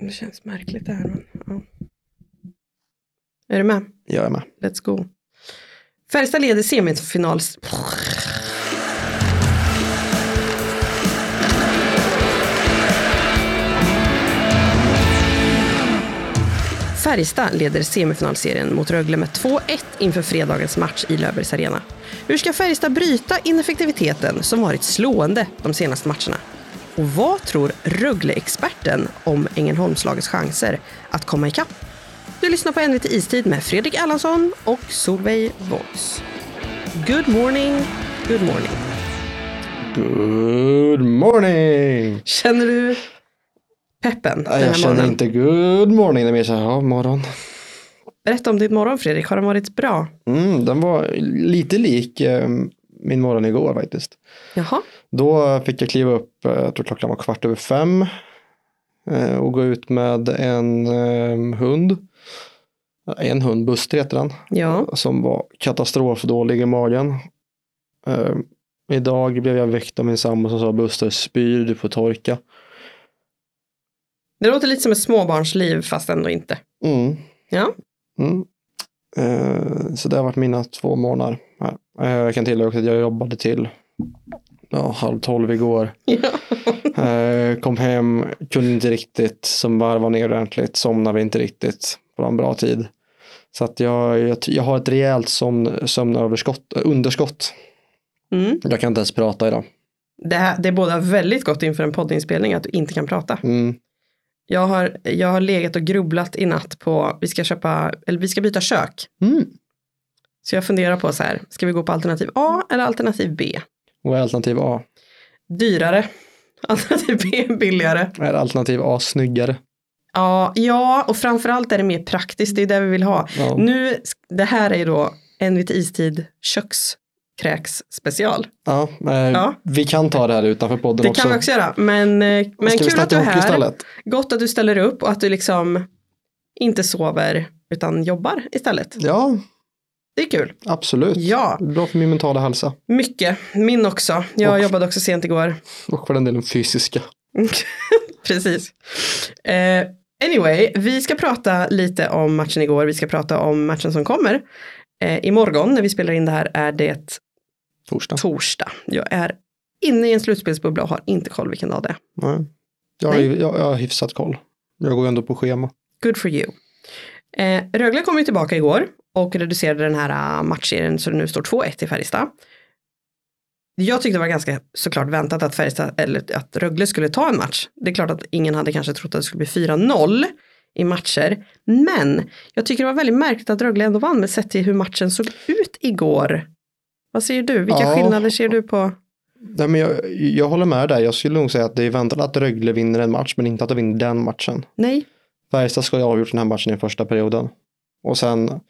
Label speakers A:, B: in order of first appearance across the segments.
A: Det känns märkligt det här. Men, ja. Är du med?
B: Jag är med.
A: Let's go. Färjestad leder semifinal... Färjestad leder semifinalserien mot Rögle med 2-1 inför fredagens match i Löfbergs Arena. Hur ska Färjestad bryta ineffektiviteten som varit slående de senaste matcherna? Och vad tror Rögle-experten om Ängelholmslagets chanser att komma ikapp? Du lyssnar på NVT Istid med Fredrik Allansson och Solveig Voice. Good morning, good morning.
B: Good morning!
A: Känner du peppen den
B: Nej, jag
A: här
B: känner
A: morgonen?
B: inte good morning, det är mer så här, ja, morgon.
A: Berätta om din morgon Fredrik, har den varit bra?
B: Mm, den var lite lik eh, min morgon igår faktiskt.
A: Jaha,
B: Då fick jag kliva upp, eh, jag tror klockan var kvart över fem. eh, Och gå ut med en eh, hund. En hund, Buster heter han.
A: ja.
B: Som var katastrofdålig i magen. Eh, Idag blev jag väckt av min sambo som sa Buster spyr du på torka.
A: Det låter lite som ett småbarnsliv fast ändå inte.
B: Mm.
A: Ja.
B: Mm. Eh, så det har varit mina två månader. Här. Eh, jag kan tillägga också att jag jobbade till ja, halv tolv igår.
A: Ja.
B: Eh, kom hem, kunde inte riktigt, som varva ner ordentligt, somnade inte riktigt på en bra tid. Så att jag, jag, jag har ett rejält somn, sömnöverskott, eh, underskott.
A: Mm.
B: Jag kan inte ens prata idag.
A: Det, här, det är båda väldigt gott inför en poddinspelning att du inte kan prata.
B: Mm.
A: Jag har, jag har legat och grubblat i natt på, vi ska köpa, eller vi ska byta kök.
B: Mm.
A: Så jag funderar på så här, ska vi gå på alternativ A eller alternativ B?
B: Vad är alternativ A?
A: Dyrare. Alternativ B är billigare.
B: Är alternativ A snyggare?
A: Ja, ja, och framförallt är det mer praktiskt, det är det vi vill ha.
B: Ja.
A: Nu, det här är ju då en vid istid kökskräks special.
B: Ja, eh,
A: Ja.
B: Vi kan ta det här utanför podden
A: Det
B: också.
A: kan vi också göra, men, eh, men
B: Ska
A: kul
B: vi
A: att du
B: snacka
A: är
B: hockey
A: här.
B: istället?
A: Gott att du ställer upp och att du liksom inte sover utan jobbar istället.
B: Ja,
A: Det är kul.
B: absolut.
A: Ja,
B: Bra för min mentala hälsa
A: mycket. Min också. Jag
B: Och-
A: jobbade också sent igår.
B: och för den delen fysiska.
A: Precis. Eh, anyway, vi ska prata lite om matchen igår. Vi ska prata om matchen som kommer. Eh, imorgon när vi spelar in det här är det
B: Torsdag.
A: torsdag. Jag är inne i en slutspelsbubbla och har inte koll vilken dag det är.
B: Nej. Jag, har, ju- jag, jag har hyfsat koll. Jag går ju ändå på schema.
A: Good for you. Eh, Rögle kom ju tillbaka igår och reducerade den här ah, matchserien så det nu står 2-1 i Färjestad. Jag tyckte det var ganska såklart väntat att Färjestad, eller att Rögle skulle ta en match. Det är klart att ingen hade kanske trott att det skulle bli 4-0 i matcher. Men jag tycker det var väldigt märkligt att Rögle ändå vann med sett till hur matchen såg ut igår. Vad säger du? Vilka
B: Ja.
A: skillnader ser du på?
B: Nej, men jag, jag håller med där. Jag skulle nog säga att det är väntat att Rögle vinner en match, men inte att de vinner den matchen.
A: Nej.
B: Färjestad ska ju ha avgjort den här matchen i första perioden. Och sen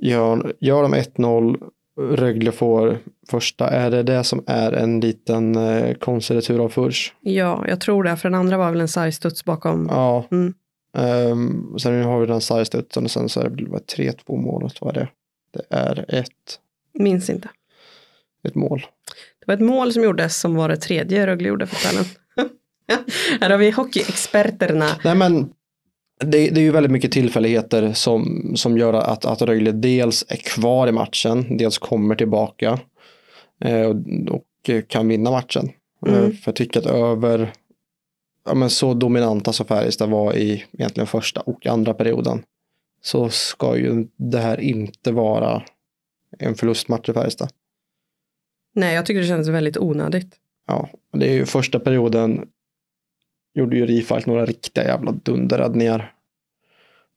B: gör, gör de 1-0, Rögle får första. Är det det som är en liten eh, konstig retur av Furs?
A: Ja, jag tror det. För den andra var väl en sargstuds bakom.
B: Ja.
A: Mm.
B: Ehm, sen har vi den sargstudsen och sen så är det väl 3-2 målet. Vad är det? Det är ett,
A: Minns inte.
B: ett mål.
A: Det var ett mål som gjordes som var det tredje Rögle gjorde för kvällen. Här har vi hockeyexperterna.
B: Nej men det, det är ju väldigt mycket tillfälligheter som, som gör att, att Rögle dels är kvar i matchen, dels kommer tillbaka eh, och, och eh, kan vinna matchen.
A: Mm.
B: Eh, för jag tycker att över ja, men så dominanta som Färjestad var i egentligen första och andra perioden så ska ju det här inte vara en förlustmatch för Färjestad.
A: Nej, jag tycker det känns väldigt onödigt.
B: Ja, det är ju första perioden gjorde ju Rifalk några riktiga jävla dunderräddningar.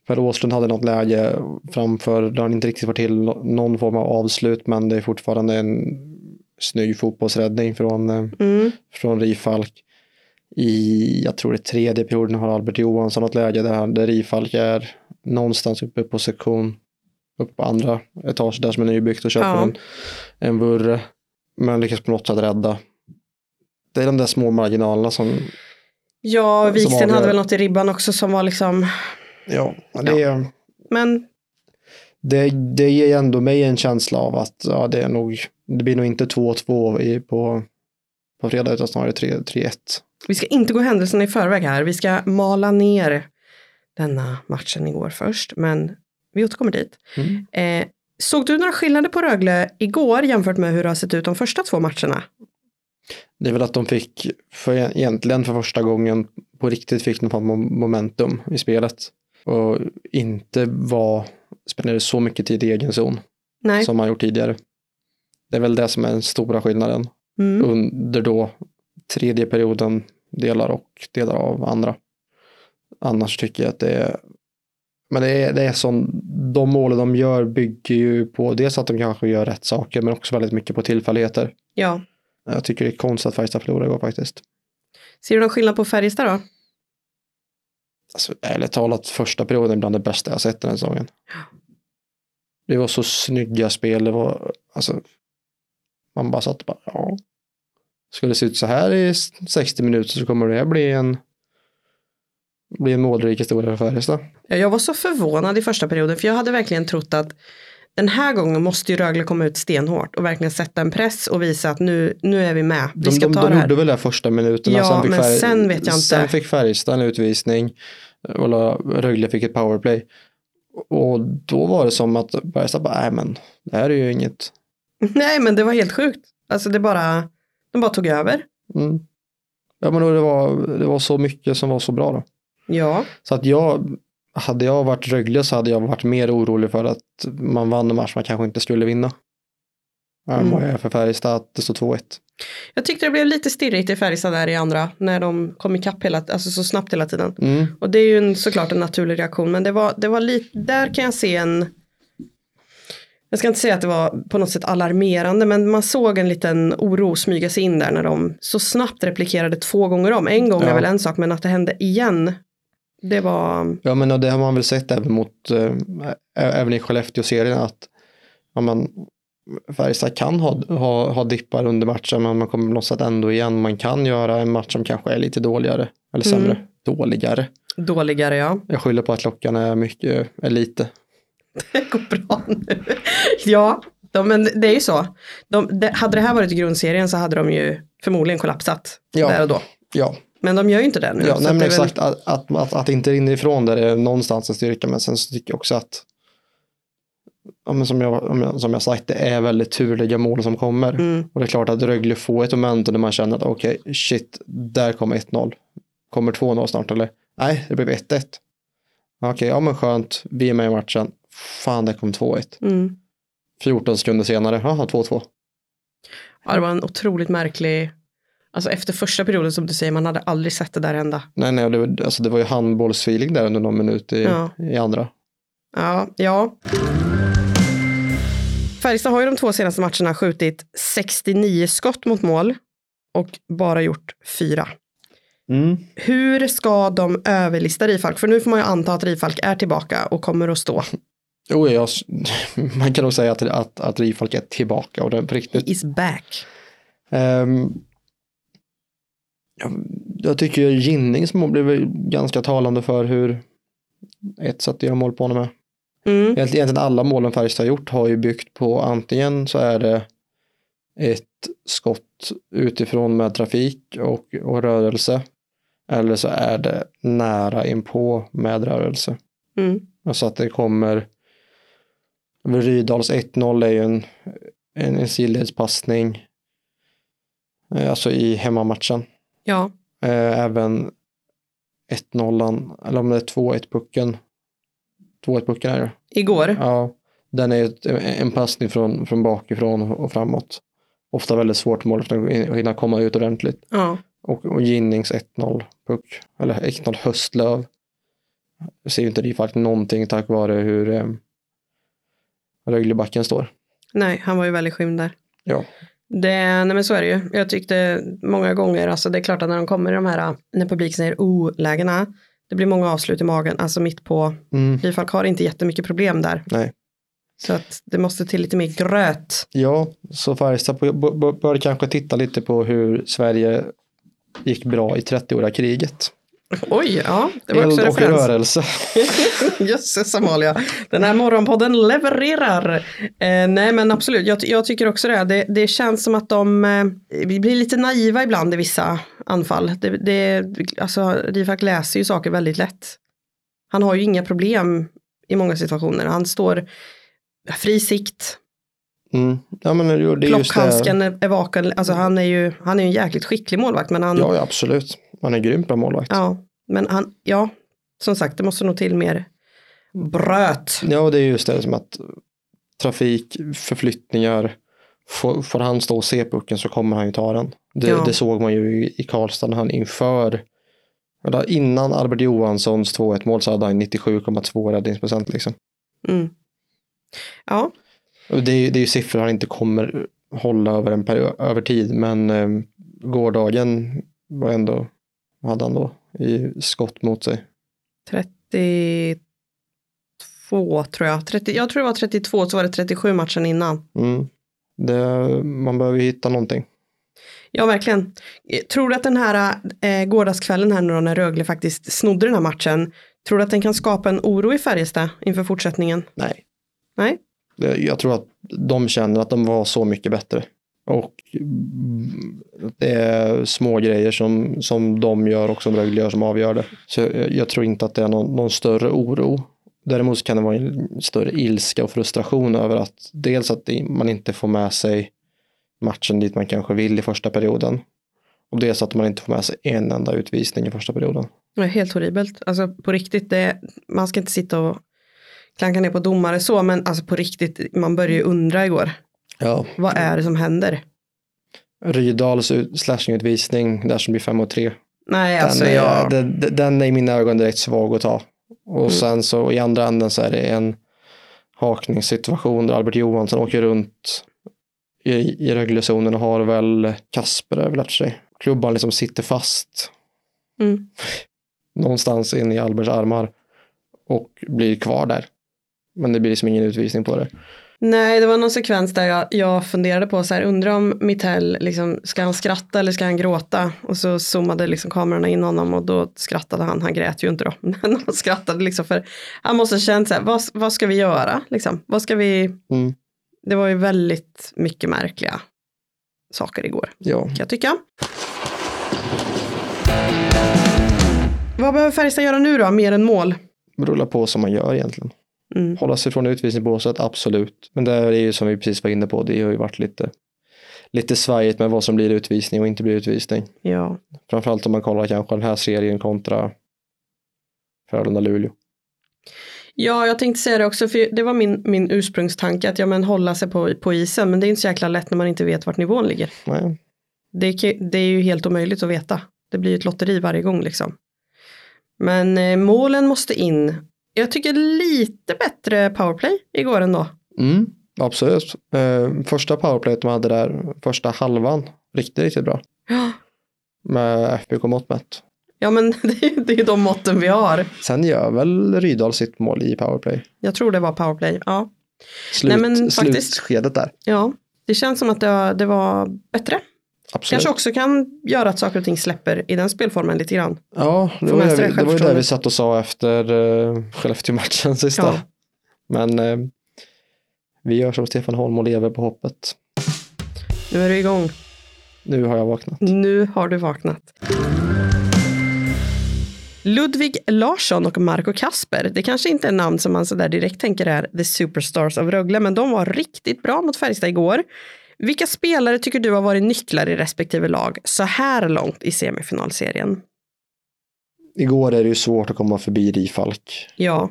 B: Per Åslund hade något läge framför där han inte riktigt får till nå- någon form av avslut men det är fortfarande en snygg fotbollsräddning från, eh,
A: Mm.
B: från Rifalk. I, jag tror det är tredje perioden har Albert Johansson något läge där, han- där Rifalk är någonstans uppe på sektion, uppe på andra etage där som är nybyggt och köper
A: Ja.
B: en, en vurre. Men lyckas på något sätt rädda. Det är de där små marginalerna som,
A: Ja,
B: Som
A: Viksten hade
B: avgör.
A: väl något i ribban också som var liksom,
B: ja, det,
A: men
B: Det, det ger ändå mig en känsla av att ja, det, är nog, det blir nog inte 2-2 i- på, på fredag utan snarare 3- 3-1.
A: Vi ska inte gå händelserna i förväg här. Vi ska mala ner denna matchen igår först, men vi återkommer dit.
B: Mm.
A: Eh, såg du några skillnader på Rögle igår jämfört med hur det har sett ut de första två matcherna?
B: Det är väl att de fick, för e- egentligen för första gången på riktigt fick de form av momentum i spelet. Och inte var, spenderade så mycket tid i egen zon
A: Nej.
B: som man gjort tidigare. Det är väl det som är den stora skillnaden
A: Mm.
B: under då tredje perioden, delar och delar av andra. Annars tycker jag att det är, men det är, det är sån, de målen de gör bygger ju på dels att de kanske gör rätt saker men också väldigt mycket på tillfälligheter.
A: Ja.
B: Jag tycker det är konstigt att Färjestad förlorade igår faktiskt.
A: Ser du någon skillnad på Färjestad då?
B: alltså, ärligt talat, första perioden är bland det bästa jag sett den här säsongen. Det var så snygga spel. Det var, alltså, man bara satt och bara, ja. Ska det se ut så här i 60 minuter så kommer det här bli en, bli en målrik historia för Färjestad.
A: Ja, Jag var så förvånad i första perioden för jag hade verkligen trott att den här gången måste ju Rögle komma ut stenhårt och verkligen sätta en press och visa att nu, nu är vi med. Vi
B: De,
A: ska
B: de,
A: ta
B: de
A: det här.
B: gjorde väl det första minuterna.
A: Ja, men
B: Färj-
A: sen vet jag inte.
B: Sen fick Färjestad en utvisning eh, och la- Rögle fick ett powerplay. Och då var det som att Färjestad bara, nej men det här är ju inget.
A: Nej men det var helt sjukt. Alltså det bara, de bara tog över.
B: Mm. Ja, men då det, var, det var så mycket som var så bra då.
A: Ja,
B: Så att jag, hade jag varit Rögle så hade jag varit mer orolig för att man vann en match man kanske inte skulle vinna. Än vad jag är för Färjestad att det står 2-1.
A: jag tyckte det blev lite stirrigt i Färjestad där i andra när de kom ikapp hela, alltså så snabbt hela tiden.
B: Mm.
A: Och det är ju en, såklart en naturlig reaktion men det var, det var lite, där kan jag se en jag ska inte säga att det var på något sätt alarmerande, men man såg en liten oro smyga sig in där när de så snabbt replikerade två gånger om. En gång är
B: Ja.
A: väl en sak, men att det hände igen, det var...
B: Ja men och det har man väl sett även mot, eh, ä- även i Skellefteå-serien att ja, man, Färjestad kan ha, ha, ha dippar under matchen men man kommer låtsas ändå igen. Man kan göra en match som kanske är lite dåligare eller sämre. Dåligare.
A: Dåligare ja.
B: Jag skyller på att klockan är, mycket, är lite.
A: Det går bra nu. ja, de, men det är ju så. De, det- hade det här varit grundserien så hade de ju förmodligen kollapsat
B: Ja.
A: där och då.
B: Ja,
A: Men de gör ju inte det nu.
B: ja
A: så
B: nej,
A: att
B: men
A: det är väl-
B: exakt. Att, att, att, att inte rinna ifrån där är någonstans en styrka. Men sen så tycker jag också att ja, men som, jag, om jag- som jag sagt, det är väldigt turliga mål som kommer.
A: Mm,
B: Och det är klart att Rögle får ett moment där man känner att okej, shit, där kommer 1-0. Kommer 2-0 snart eller? Nej, det blev 1-1. Okej, ja men skönt, vi är med i matchen. Fan, det kom 2-1.
A: mm.
B: 14 sekunder senare, jaha, 2-2.
A: Ja, det var en otroligt märklig... Alltså efter första perioden som du säger, man hade aldrig sett det där hända.
B: Nej, nej, det, var- alltså, det var ju handbollsfeeling där under någon minut i,
A: Ja.
B: i andra.
A: Ja, ja. Färjestad har ju de två senaste matcherna skjutit 69 skott mot mål och bara gjort fyra.
B: Mm.
A: Hur ska de överlista Rifalk? För nu får man ju anta att Rifalk är tillbaka och kommer att stå.
B: Jo, jag, man kan nog säga att, att, att Rifalk är tillbaka och det är på riktigt.
A: He is back.
B: Ehm, jag, jag tycker Ginnings mål blev ganska talande för hur ett sätt att göra mål på honom är.
A: Mm.
B: Egent- Egentligen alla målen Färjestad har gjort har ju byggt på antingen så är det ett skott utifrån med trafik och, och rörelse. Eller så är det nära inpå med rörelse.
A: Mm.
B: Alltså att det kommer Rydals 1-0 är ju en, en, en sidledspassning. eh, Alltså i hemmamatchen.
A: Ja,
B: Eh, Även 1-0, eller om det är 2-1 pucken. 2-1 pucken är det.
A: igår.
B: Ja, den är ju ett- en passning från, från bakifrån och framåt. Ofta väldigt svårt mål för att hinna komma ut ordentligt.
A: Ja.
B: Och, och Ginnings 1-0 puck, eller 1-0 Höstlöv. Jag ser ju inte det faktiskt någonting tack vare hur eh, Röglebacken står.
A: Nej, han var ju väldigt skymd där.
B: Ja.
A: Det, nej men så är det ju. Jag tyckte många gånger, alltså det är klart att när de kommer i de här, äh, när publiken säger o-lägena, det blir många avslut i magen, alltså mitt på.
B: Mm.
A: Rifalk har inte jättemycket problem där.
B: Nej.
A: Så att det måste till lite mer gröt.
B: Ja, så Färjestad bör- bör- bör kanske titta lite på hur Sverige gick bra i 30-åriga kriget.
A: Oj, ja. Det var
B: Eld
A: också
B: och
A: referens.
B: rörelse.
A: Jösses Amalia. Den här morgonpodden levererar. Eh, nej men absolut, jag, jag tycker också det. det. Det känns som att de eh, vi blir lite naiva ibland i vissa anfall. Det, det, alltså, Rifak läser ju saker väldigt lätt. Han har ju inga problem i många situationer. Han står fri sikt,
B: Mm. Ja, men det är ju det är just det.
A: klockhandsken är, är vaken. Alltså, han är ju han är ju en jäkligt skicklig målvakt. Men han,
B: Ja, ja, absolut. Man är grymt bra målvakt. Ja.
A: Ja, men han, ja, som sagt, det måste nog till mer bröt.
B: och det är just det som att trafik, förflyttningar, får, får han stå och se pucken så kommer han ju ta den. Det,
A: Ja.
B: det såg man ju i- i Karlstad när han inför, eller innan Albert Johanssons 2-1 mål så hade han 97,2 räddningsprocent liksom.
A: Mm. Ja,
B: Och Det är, ju- det är ju siffror han inte kommer hålla över, en period, över tid, men eh, gårdagen var ändå, vad hade han då i skott mot sig?
A: 32 tror jag. 30, jag tror det var 32, så var det 37 matchen innan.
B: Mm. Det, man behöver ju hitta någonting.
A: Ja, verkligen. Eh, Tror du att den här eh, gårdagskvällen här nu då, när Rögle faktiskt snodde den här matchen, tror du att den kan skapa en oro i Färjestad inför fortsättningen?
B: Nej.
A: Nej.
B: Det- Jag tror att de känner att de var så mycket bättre. Och mm, det är små grejer som, som de gör och som Rögle gör som avgör det. Så jag, jag tror inte att det är någon, någon större oro. Däremot så kan det vara en större ilska och frustration över att dels att det- man inte får med sig matchen dit man kanske vill i första perioden. Och dels att man inte får med sig en enda utvisning i första perioden.
A: Det är helt horribelt. Alltså på riktigt, det, man ska inte sitta och klanka ner på domare så, men alltså på riktigt, man började ju undra igår.
B: Ja,
A: Vad är det som händer?
B: Rydals ut- slashingutvisning där som blir 5 mot 3.
A: Nej,
B: Den,
A: alltså
B: är-
A: jag...
B: den, den- den är i mina ögon direkt svag att ta. Och sen så i andra änden så är det en hakningssituation där Albert Johansson åker runt i, i Röglezonen och har väl Kasper är väl efter sig. Klubban liksom sitter fast
A: Mm.
B: någonstans in i Alberts armar och blir kvar där. Men det blir liksom ingen utvisning på det.
A: Nej, det var någon sekvens där jag, jag funderade på så här, undrar om Mittell, liksom, ska han skratta eller ska han gråta? Och så zoomade liksom kamerorna in honom och då skrattade han, han grät ju inte då, men han skrattade liksom för han måste ha känt så här, vad, vad ska vi göra liksom? Vad ska vi?
B: Mm.
A: Det var ju väldigt mycket märkliga saker igår,
B: Ja.
A: kan jag tycka. Vad behöver Färjestad göra nu då, mer än mål?
B: rulla på som man gör egentligen.
A: Mm.
B: Hålla sig från utvisningsbåset, absolut. Men det är ju som vi precis var inne på, det har ju varit lite, lite svajigt med vad som blir utvisning och inte blir utvisning.
A: Ja,
B: Framförallt om man kollar kanske den här serien kontra Frölunda-Luleå.
A: Ja, jag tänkte säga det också, för det var min, min ursprungstanke att ja, men hålla sig på, på isen, men det är inte så jäkla lätt när man inte vet vart nivån ligger.
B: Nej.
A: Det, kan- det är ju helt omöjligt att veta. Det blir ju ett lotteri varje gång liksom. Men eh, målen måste in. Jag tycker lite bättre powerplay igår ändå.
B: Mm, absolut. Eh, första powerplayet de hade där, första halvan, riktigt, riktigt bra.
A: Ja.
B: Med FBK-mått mätt.
A: Ja, men det är, det är de måtten vi har.
B: Sen gör väl Rydahl sitt mål i powerplay.
A: Jag tror det var powerplay. Ja,
B: Slut,
A: Nej, men faktiskt-
B: Slutskedet där.
A: ja. det känns som att det, det var bättre.
B: Absolut.
A: Kanske också kan göra att saker och ting släpper i den spelformen lite grann.
B: Ja, det
A: Får
B: var,
A: med
B: ju
A: sig
B: där vi, det var ju där
A: självförtroende.
B: vi satt och sa efter uh, Skellefteå-matchen sista.
A: Ja.
B: Men eh, vi gör som Stefan Holm och lever på hoppet.
A: Nu är det igång.
B: Nu har jag vaknat.
A: Nu har du vaknat. Ludvig Larsson och Marco Kasper. Det kanske inte är namn som man sådär direkt tänker är the superstars av Rögle, men de var riktigt bra mot Färjestad igår. Vilka spelare tycker du har varit nycklar i respektive lag så här långt i semifinalserien?
B: Igår är det ju svårt att komma förbi Rifalk.
A: Ja,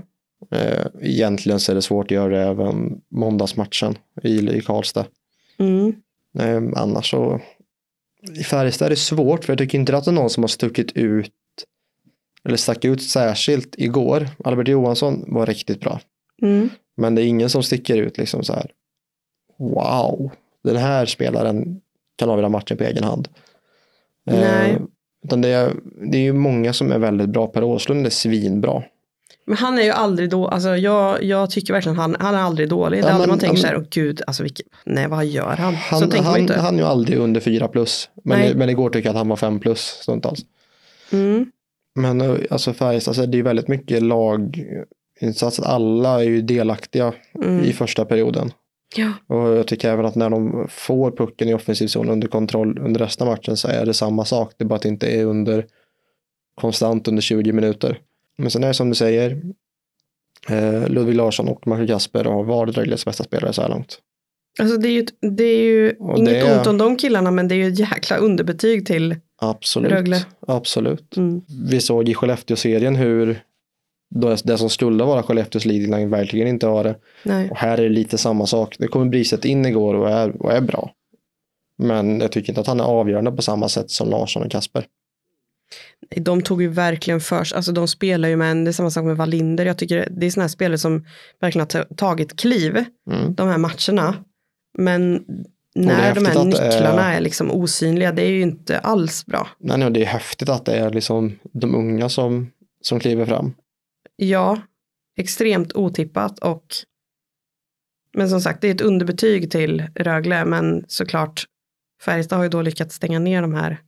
B: Eh, egentligen så är det svårt att göra det även måndagsmatchen i, i Karlstad.
A: mm.
B: Eh, annars så i Färjestad är det svårt för jag tycker inte att det är någon som har stuckit ut eller stack ut särskilt igår. Albert Johansson var riktigt bra.
A: Mm.
B: Men det är ingen som sticker ut liksom så här. Wow, den här spelaren kan avgöra matchen på egen hand. Eh,
A: Nej.
B: utan det, är, det är ju många som är väldigt bra. Per Åslund är svinbra.
A: Men han är ju aldrig då, alltså jag, jag tycker verkligen han, han är aldrig dålig. Det är
B: Ja,
A: aldrig
B: men-
A: man tänker
B: ja,
A: så
B: men-
A: här, åh gud, alltså vilket, nej vad gör han? så
B: Han,
A: tänker man
B: han,
A: inte.
B: han är ju aldrig under 4 plus.
A: Nej.
B: Men, men igår tycker jag att han var 5 plus stundtals.
A: Mm.
B: Men eh, alltså Färjestad, alltså, det är ju väldigt mycket laginsats. att Alla är ju delaktiga
A: Mm.
B: i första perioden.
A: Ja.
B: Och jag tycker även att när de får pucken i offensiv zon under kontroll under resten av matchen så är det samma sak. Det är bara att det inte är under konstant under 20 minuter. Men sen är det som du säger. Eh, Ludvig Larsson och Marcus Kasper har varit Rögles bästa spelare så här långt.
A: Alltså det är ju, det är ju
B: Och
A: inget
B: det-
A: ont om de killarna men det är ju ett jäkla underbetyg till.
B: Absolut.
A: Rögle.
B: Absolut.
A: Mm.
B: vi såg i Skellefteå-serien hur det det som skulle vara Skellefteås leading line verkligen inte har det.
A: Nej.
B: Och här är det lite samma sak. Det kommer Briset in igår och är, och är bra. Men jag tycker inte att han är avgörande på samma sätt som Larsson och Kasper.
A: De tog ju verkligen för sig. alltså de spelar ju med en, det är samma sak med Wallinder, jag tycker det är sådana här spelare som verkligen har ta- tagit kliv
B: Mm.
A: de här matcherna. Men
B: det är
A: när de
B: häftigt
A: här
B: att eh, det är-
A: nycklarna är... liksom osynliga, det är ju inte alls bra.
B: Nej, nej, det är häftigt att det är liksom de unga som, som kliver fram.
A: Mm. Ja, extremt otippat och men som sagt, det är ett underbetyg till Rögle, men såklart Färjestad har ju då lyckats stänga ner de här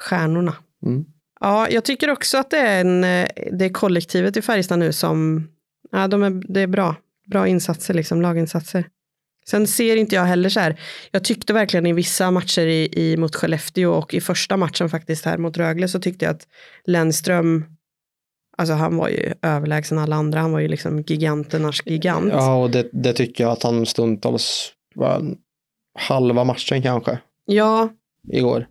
A: stjärnorna.
B: Mm.
A: Ja, jag tycker också att det är, en, eh, det är kollektivet i Färjestad nu som, ja, de är, det är bra, bra insatser, liksom, laginsatser. Sen ser inte jag heller så här, jag tyckte verkligen i vissa matcher i, i, mot Skellefteå och i första matchen faktiskt här mot Rögle så tyckte jag att Lennström, alltså han var ju överlägsen alla andra, han var ju liksom giganternas gigant.
B: Ja, och det, det tycker jag att han stundtals var en halva matchen kanske
A: ja
B: igår.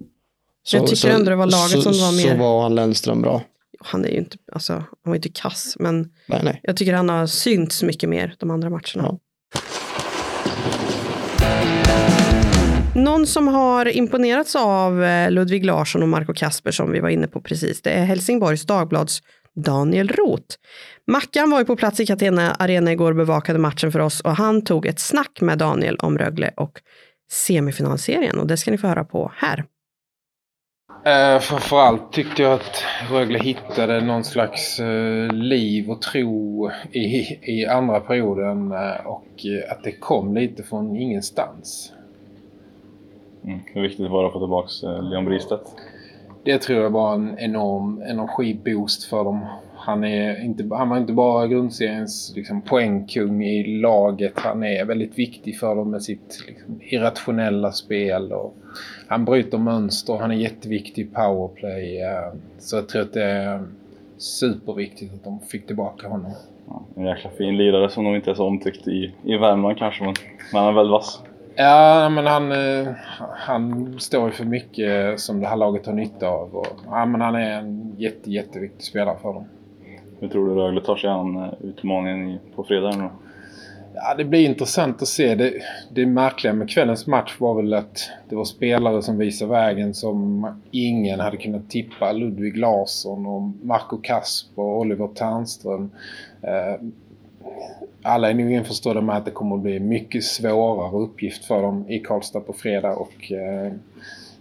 A: Jag tycker ändå det var laget
B: så,
A: som var
B: Så
A: mer-
B: var han Lennström bra.
A: han är ju inte, alltså, han var ju inte kass, men
B: Nej, nej.
A: jag tycker han har synts mycket mer de andra matcherna.
B: Ja.
A: Någon som har imponerats av eh, Ludvig Larsson och Marco Kasper som vi var inne på precis, det är Helsingborgs Dagblads Daniel Roth. Mackan var ju på plats i Catena Arena igår och bevakade matchen för oss och han tog ett snack med Daniel om Rögle och semifinalserien och det ska ni få höra på här.
C: Eh, framförallt tyckte jag att Rögle hittade någon slags eh, liv och tro i, i andra perioden eh, och eh, att det kom lite från ingenstans.
D: Mm. Hur viktigt var det att få tillbaka eh, Leon Bristedt?
C: Det tror jag var en enorm energiboost för dem. Han, är inte, han var inte bara grundseriens liksom, poängkung i laget. Han är väldigt viktig för dem med sitt liksom, irrationella spel. Och han bryter mönster. Han är jätteviktig i powerplay. eh, Så jag tror att det är superviktigt att de fick tillbaka honom.
D: Ja, en jäkla fin lirare som nog inte är så omtyckt i, i Värmland kanske, men, men han är väl vass.
C: Ja, men han, eh, han står ju för mycket som det här laget har nytta av. Och, ja, men han är en jätte, jätteviktig spelare för dem.
D: Hur tror du Rögle tar sig an eh, utmaningen i, på fredag? här nu då?
C: Ja, det blir intressant att se. Det, det märkliga med kvällens match var väl att det var spelare som visade vägen som ingen hade kunnat tippa. Ludvig Larsson och Marco Kasper och Oliver Ternström. Eh, Alla är nog införstådda med att det kommer att bli en mycket svårare uppgift för dem i Karlstad på fredag. Och eh,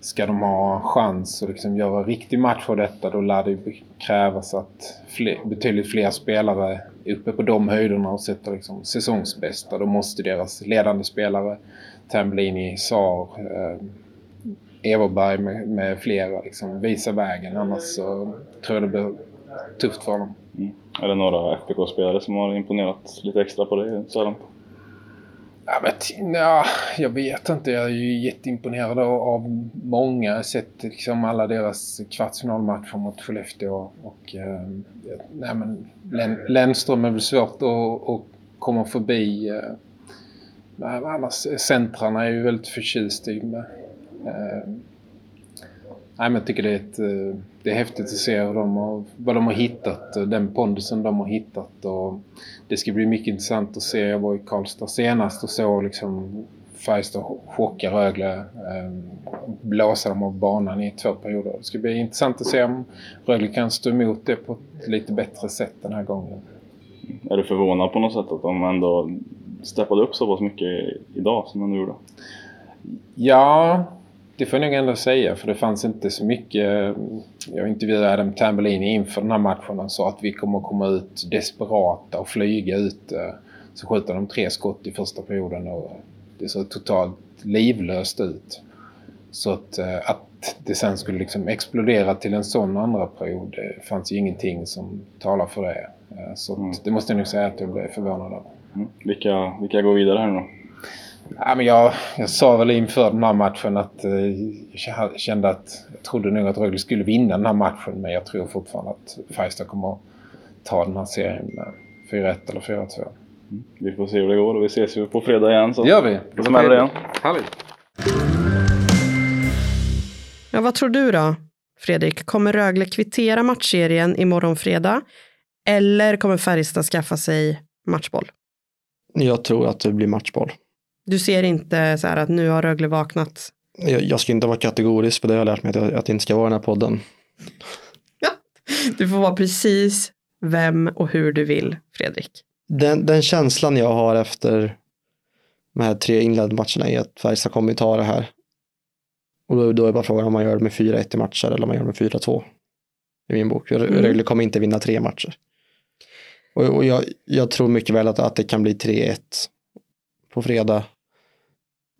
C: ska de ha en chans att liksom göra en riktig match av detta då lär det ju krävas att fler, betydligt fler spelare är uppe på de höjderna och sätter liksom säsongsbästa. Då måste deras ledande spelare Tamblini, Saar, eh, Everberg med, med flera liksom visa vägen. Annars så tror jag det blir tufft för dem.
D: Mm. Är det några FBK-spelare som har imponerat lite extra på dig så här långt?
C: Ja, men, t- nja, jag vet inte. Jag är ju jätteimponerad av- av många. Jag har sett liksom alla deras kvartsfinalmatcher mot Skellefteå. Och, eh, nej, men, Län- Lennström är väl svårt att, att komma förbi. Eh, nej, men annars, centrarna är ju väldigt förtjust i. Med. Eh, nej, men jag tycker det är, ett, eh, det är häftigt att se hur de har, vad de har hittat. och Den pondusen de har hittat. Och, det ska bli mycket intressant att se. Jag var i Karlstad senast och såg liksom Färjestad chocka Rögle. Eh, blåsa dem av banan i två perioder. Det ska bli intressant att se om Rögle kan stå emot det på ett lite bättre sätt den här gången.
D: Är du förvånad på något sätt att de ändå steppade upp så pass mycket idag som de gjorde?
C: Ja, det får jag nog ändå säga. För det fanns inte så mycket. Jag intervjuade Adam Tambellini inför den här matchen. Han sa att vi kommer att komma ut desperata och flyga ut. eh, Så skjuter de tre skott i första perioden och det såg totalt livlöst ut. Så att, eh, att att det sen skulle liksom explodera till en sån andra period. Det fanns ju ingenting som talar för det. Eh, Så att
D: Mm.
C: det måste jag nog säga att jag blev förvånad över.
D: Mm. Vilka, vilka går vidare här nu då?
C: Ja, men jag, jag sa väl inför den här matchen att eh, jag kände att jag trodde nog att Rögle skulle vinna den här matchen men jag tror fortfarande att Färjestad kommer att ta den här serien med 4-1 eller 4-2.
D: Mm. Vi får se hur det går och vi ses ju på fredag igen. Så
C: Det gör vi!
D: Det smäller igen.
C: Härligt!
A: Ja, vad tror du då, Fredrik? Kommer Rögle kvittera matchserien imorgon fredag? Eller kommer Färjestad skaffa sig matchboll?
B: Jag tror att det blir matchboll.
A: Du ser inte så här att nu har Rögle vaknat?
B: Jag, jag ska inte vara kategorisk för det har jag lärt mig att jag, att jag inte ska vara i den här podden.
A: Du får vara precis vem och hur du vill, Fredrik.
B: Den, den känslan jag har efter de här tre inledande matcherna är att Färjestad kommer ta det här. Och då, då är bara frågan om man gör det med 4-1 i matcher eller om man gör det med 4-2. I min bok. Rö-
A: Mm.
B: Rögle kommer inte vinna tre matcher. Och, och jag, jag tror mycket väl att, att det kan bli 3-1 på fredag.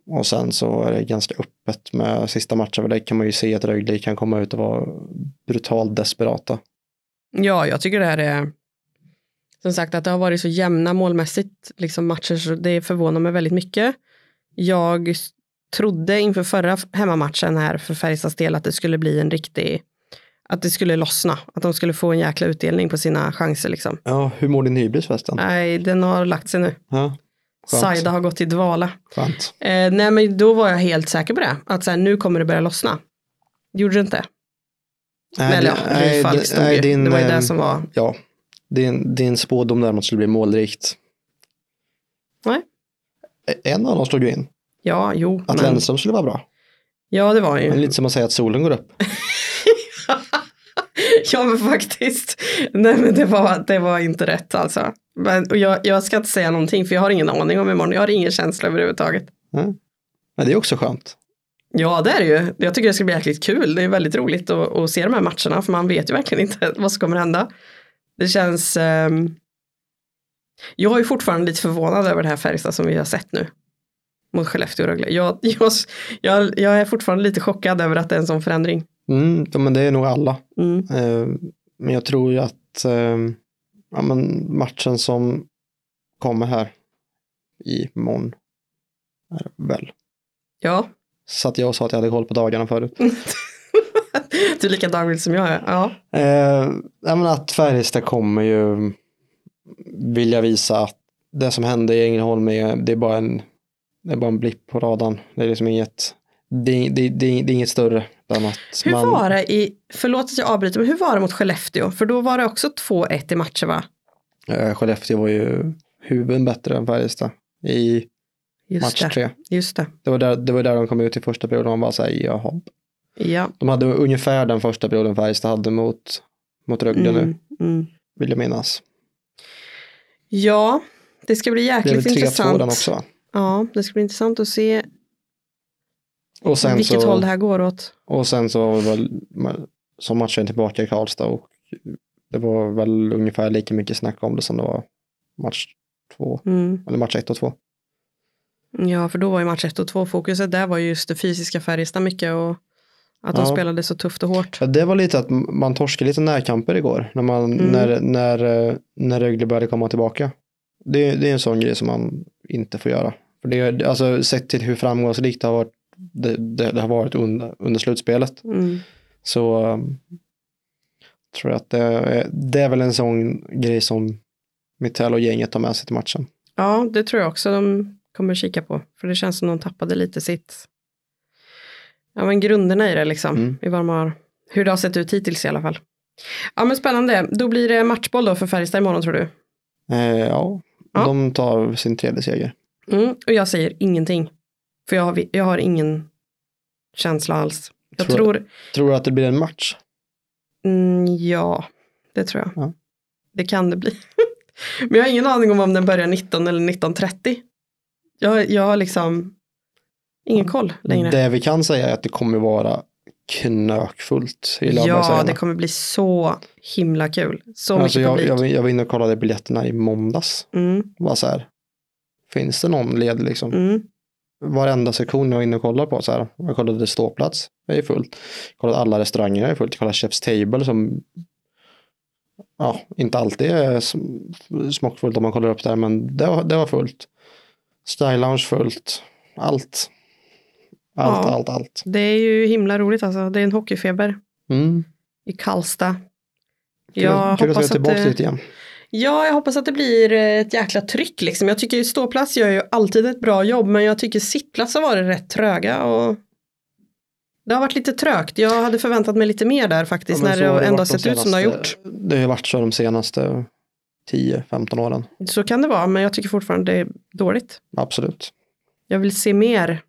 B: Och sen så är det ganska öppet med sista matchen. För där kan man ju se att Rögle kan komma ut och vara brutalt desperata.
A: Ja, jag tycker det här är som sagt att det har varit så jämna målmässigt liksom matcher så det förvånar mig väldigt mycket. Jag s- trodde inför förra f- hemmamatchen här för Färjestads del att det skulle bli en riktig att det skulle lossna, att de skulle få en jäkla utdelning på sina chanser liksom.
B: Ja, hur mår din hybris förresten?
A: Nej, den har lagt sig nu.
B: Ja, skönt.
A: Saida har gått i dvala.
B: skönt.
A: Eh, nej, men då var jag helt säker på det, att så här, nu kommer det börja lossna. Gjorde det inte?
B: Nej,
A: Eller
B: det-
A: ja, Gry Falk
B: det-
A: stod
B: nej,
A: ju.
B: din,
A: Det var ju
B: ehm,
A: det som var
B: Ja, din, din spådom däremot skulle bli målrikt. E-
A: Nej.
B: En av dem slog ju in.
A: Ja, jo.
B: Att
A: men-
B: Lennström skulle vara bra.
A: Ja, det var
B: Det är
A: ju.
B: lite som att säga att solen går upp.
A: ja, men faktiskt. Nej, men det var, det var inte rätt alltså. Men, och jag, jag ska inte säga någonting, för jag har ingen aning om imorgon. Jag har ingen känsla överhuvudtaget.
B: Men det är också skönt.
A: Ja, det är det ju. Jag tycker det ska bli jäkligt kul. Det är väldigt roligt att, att se de här matcherna, för man vet ju verkligen inte vad som kommer hända. Det känns... ehm, Jag är fortfarande lite förvånad över det här Färjestad som vi har sett nu. Mot Skellefteå och Rögle. Jag, jag, jag, jag är fortfarande lite chockad över att det är en sån förändring.
B: Mm, ja, men det är nog alla.
A: Mm.
B: Eh, Men jag tror ju att eh, ja, men matchen som kommer här i morgon är väl.
A: Ja,
B: Så att jag sa att jag hade koll på dagarna förut.
A: du är lika dagvild som jag är. Ja.
B: Eh, jag menar att Färjestad kommer ju vilja visa att det som hände i Ängelholm är, det är, bara, en, det är bara en blipp på radarn. Det är liksom inget, det, det, det, det är inget större. än att
A: Hur
B: man-
A: var det i, förlåt att jag avbryter, men hur var det mot Skellefteå? För då var det också 2-1 i matcher va?
B: Eh, Skellefteå var ju huvuden bättre än Färjestad i
A: Just
B: match
A: det.
B: tre.
A: Just det.
B: Det var, där, det var där de kom ut i första perioden och man bara så här, jaha.
A: Ja.
B: De hade ungefär den första perioden Färjestad hade mot, mot Rögle nu,
A: Mm, mm.
B: vill jag minnas.
A: Ja, det ska bli
B: Det är väl
A: jäkligt
B: 3-2
A: intressant.
B: den också va?
A: Ja, det ska bli intressant att se
B: Och sen
A: vilket
B: så,
A: håll det här går åt.
B: Och sen så var det väl som matchen tillbaka i Karlstad och det var väl ungefär lika mycket snack om det som det var match två,
A: Mm.
B: eller match ett och två.
A: Ja, för då var ju match 1 och 2 fokuset. Där var ju just det fysiska Färjestad mycket och att de
B: Ja.
A: spelade så tufft och hårt.
B: Ja, Det var lite att man torskade lite närkamper igår när, man,
A: Mm.
B: när, när, eh, när Rögle började komma tillbaka. Det, är- det är en sån grej som man inte får göra. För det, är- alltså, sett till hur framgångsrikt det har varit, det, det, det har varit under, under slutspelet
A: Mm.
B: Så um, tror jag att det är, det är väl en sån grej som Mitell och gänget tar med sig till matchen.
A: Ja, det tror jag också de kommer kika på. För det känns som de tappade lite sitt, ja men grunderna i det liksom.
B: Mm.
A: I vad de har, hur det har sett ut hittills i alla fall. Ja men spännande, då blir det matchboll då för Färjestad imorgon tror du?
B: Eh, ja,
A: Ja.
B: de tar sin tredje seger.
A: Mm. Och jag säger ingenting. För jag har, jag har ingen känsla alls. Jag
B: Tror-
A: tror,
B: Tror du att det blir en match?
A: mm, ja, det tror jag.
B: Ja.
A: Det kan det bli. men jag har ingen aning om om den börjar 19 eller 19.30. Jag, jag har liksom ingen koll längre.
B: Det vi kan säga är att det kommer vara knökfullt i Löfbergs
A: Ja,
B: Arena.
A: det kommer bli så himla kul. Så
B: alltså,
A: mycket
B: jag,
A: publik.
B: jag, var- jag var inne och kollade biljetterna i måndags.
A: Mm,
B: Bara så här, finns det någon led liksom?
A: mm.
B: varenda sektion jag var inne och kollade på. Så här. Jag kollade ståplats, det är fullt. Jag kollade alla restauranger, det är fullt. Jag kollade Chef's Table som ja, inte alltid är sm- smockfullt om man kollar upp där, men det var, det var fullt. Style Lounge fullt. Allt. Allt,
A: Ja.
B: allt, allt.
A: Det är ju himla roligt alltså. Det är en hockeyfeber
B: Mm.
A: i Karlstad.
B: Kul,
A: Jag
B: kul att vi är
A: hoppas att eh,
B: tillbaka
A: det,
B: dit igen.
A: ja, jag hoppas att det blir eh, ett jäkla tryck liksom. Jag tycker ju ståplats gör ju alltid ett bra jobb, men jag tycker sittplats har varit rätt tröga och det har varit lite trögt. Jag hade förväntat mig lite mer där faktiskt,
B: Ja, men
A: när
B: så har
A: det
B: varit
A: ändå har
B: de
A: sett ut som det har
B: senaste-
A: gjort.
B: Det har ju varit så de senaste 10-15 åren.
A: Så kan det vara, men jag tycker fortfarande det är dåligt.
B: Absolut.
A: Jag vill se mer.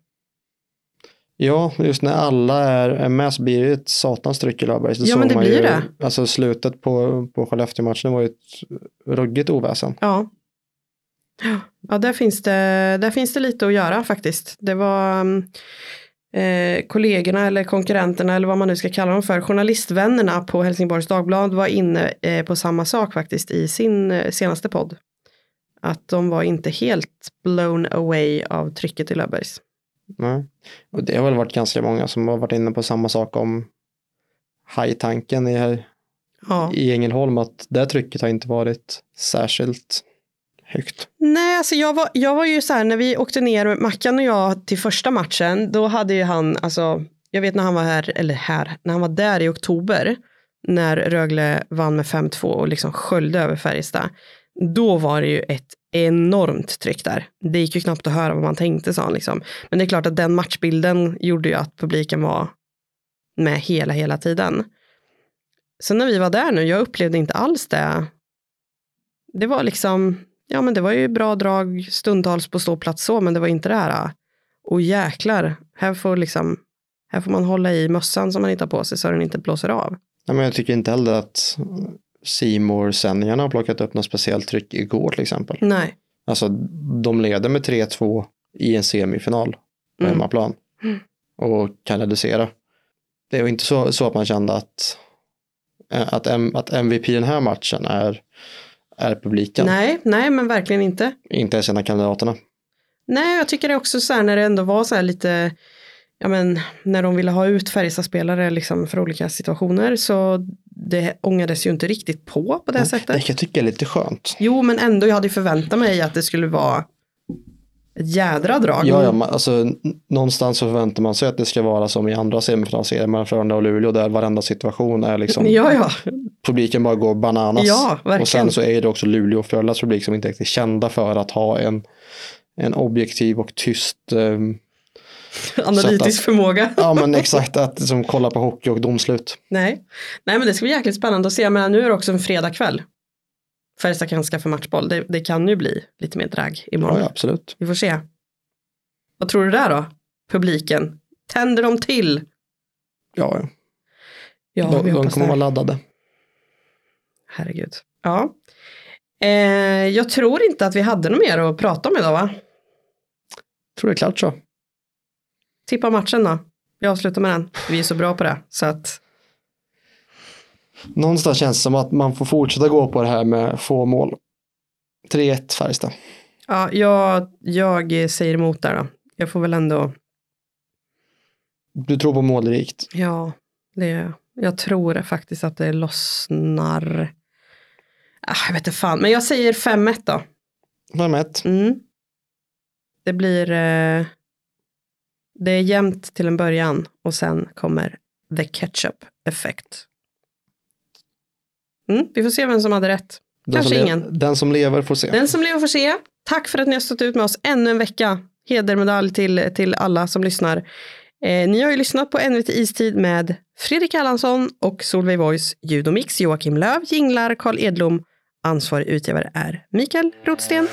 B: Ja, just när alla är, är med så blir det ett satans tryck i Löfbergs.
A: Ja, men
B: såg
A: det
B: man
A: blir
B: ju,
A: det.
B: Alltså slutet på, på Skellefteå-matchen var ju ett ruggigt oväsen.
A: Ja. Ja, där finns, det, där finns det lite att göra faktiskt. Det var mm, eh, kollegorna eller konkurrenterna eller vad man nu ska kalla dem för, journalistvännerna på Helsingborgs Dagblad var inne eh, på samma sak faktiskt i sin eh, senaste podd. Att de var inte helt blown away av trycket i Löfbergs.
B: Nej. Och det har väl varit ganska många som har varit inne på samma sak om hajtanken i, här-
A: Ja.
B: i Ängelholm, att det trycket har inte varit särskilt högt.
A: Nej, alltså jag var, jag var ju så här när vi åkte ner, Mackan och jag, till första matchen, då hade ju han, alltså, jag vet när han var här, eller här, när han var där i oktober, när Rögle vann med 5-2 och liksom sköljde över Färjestad, då var det ju ett enormt tryck där. Det gick ju knappt att höra vad man tänkte, sa han. Liksom. Men det är klart att den matchbilden gjorde ju att publiken var med hela, hela tiden. Sen när vi var där nu, jag upplevde inte alls det. Det var liksom, ja men det var ju bra drag stundtals på ståplats så, men det var inte det här, och jäklar, här får liksom, här får man hålla i mössan som man inte har på sig så den inte blåser av.
B: Nej, men jag tycker inte heller att more sändningarna har plockat upp något speciellt tryck igår till exempel.
A: Nej.
B: Alltså de leder med 3-2 i en semifinal på
A: Mm.
B: hemmaplan
A: Mm.
B: och kan reducera. Det var inte så, så att man kände att, eh, att, M- att MVP den här matchen är, är publiken,
A: Nej, nej men verkligen inte.
B: inte ens en av kandidaterna.
A: Nej, jag tycker det också så här när det ändå var så här lite, ja men när de ville ha ut Färjestad-spelare liksom för olika situationer så det ångades ju inte riktigt på på det sättet.
B: Det jag tycker är lite skönt.
A: Jo, men ändå, jag hade ju förväntat mig att det skulle vara ett jädra drag.
B: Ja, ja, man, alltså, n- någonstans så förväntar man sig att det ska vara som i andra semifinalserier mellan Frölunda och Luleå där varenda situation är liksom
A: ja, ja.
B: publiken bara går bananas.
A: Ja, verkligen.
B: och sen så är det också Luleå och Frölundas publik som inte riktigt är kända för att ha en, en objektiv och tyst, eh,
A: analytisk förmåga.
B: ja men exakt, att som kollar på hockey och domslut.
A: Nej. Nej, men det ska bli jäkligt spännande att se. Men nu är det också en fredagkväll. Färjestad kan skaffa matchboll. Det, det kan ju bli lite mer drag imorgon.
B: Ja, ja absolut.
A: Vi får se. Vad tror du där då? Publiken. Tänder de till?
B: Ja, ja.
A: Ja,
B: de,
A: vi
B: de
A: hoppas
B: kommer
A: det.
B: vara laddade.
A: Herregud. Ja. Eh, jag tror inte att vi hade något mer att prata om idag, va?
B: Tror det är klart så.
A: Tippa matchen då. Vi avslutar med den. Vi är så bra på det. Så att,
B: Någonstans känns det som att man får fortsätta gå på det här med få mål. 3-1 Färjestad.
A: ja, jag, jag säger emot där då. Jag får väl ändå
B: Du tror på målrikt.
A: Ja, det gör jag. Jag tror faktiskt att det lossnar. Ah, jag vet inte fan, men jag säger 5-1 då.
B: 5-1.
A: Mm. Det blir... Eh, det är jämnt till en början och sen kommer the ketchup effect. Mm, vi får se vem som hade rätt.
B: Den,
A: Kanske
B: som le-
A: ingen.
B: den som lever får se.
A: Den som lever får se. Tack för att ni har stått ut med oss ännu en vecka. Hedermedalj till, till alla som lyssnar. Eh, ni har ju lyssnat på NVT Istid med Fredrik Erlandsson och Solveig Voice, ljud och mix, Joakim Löv, jinglar, Carl Edlom. Ansvarig utgivare är Mikael Rotsten.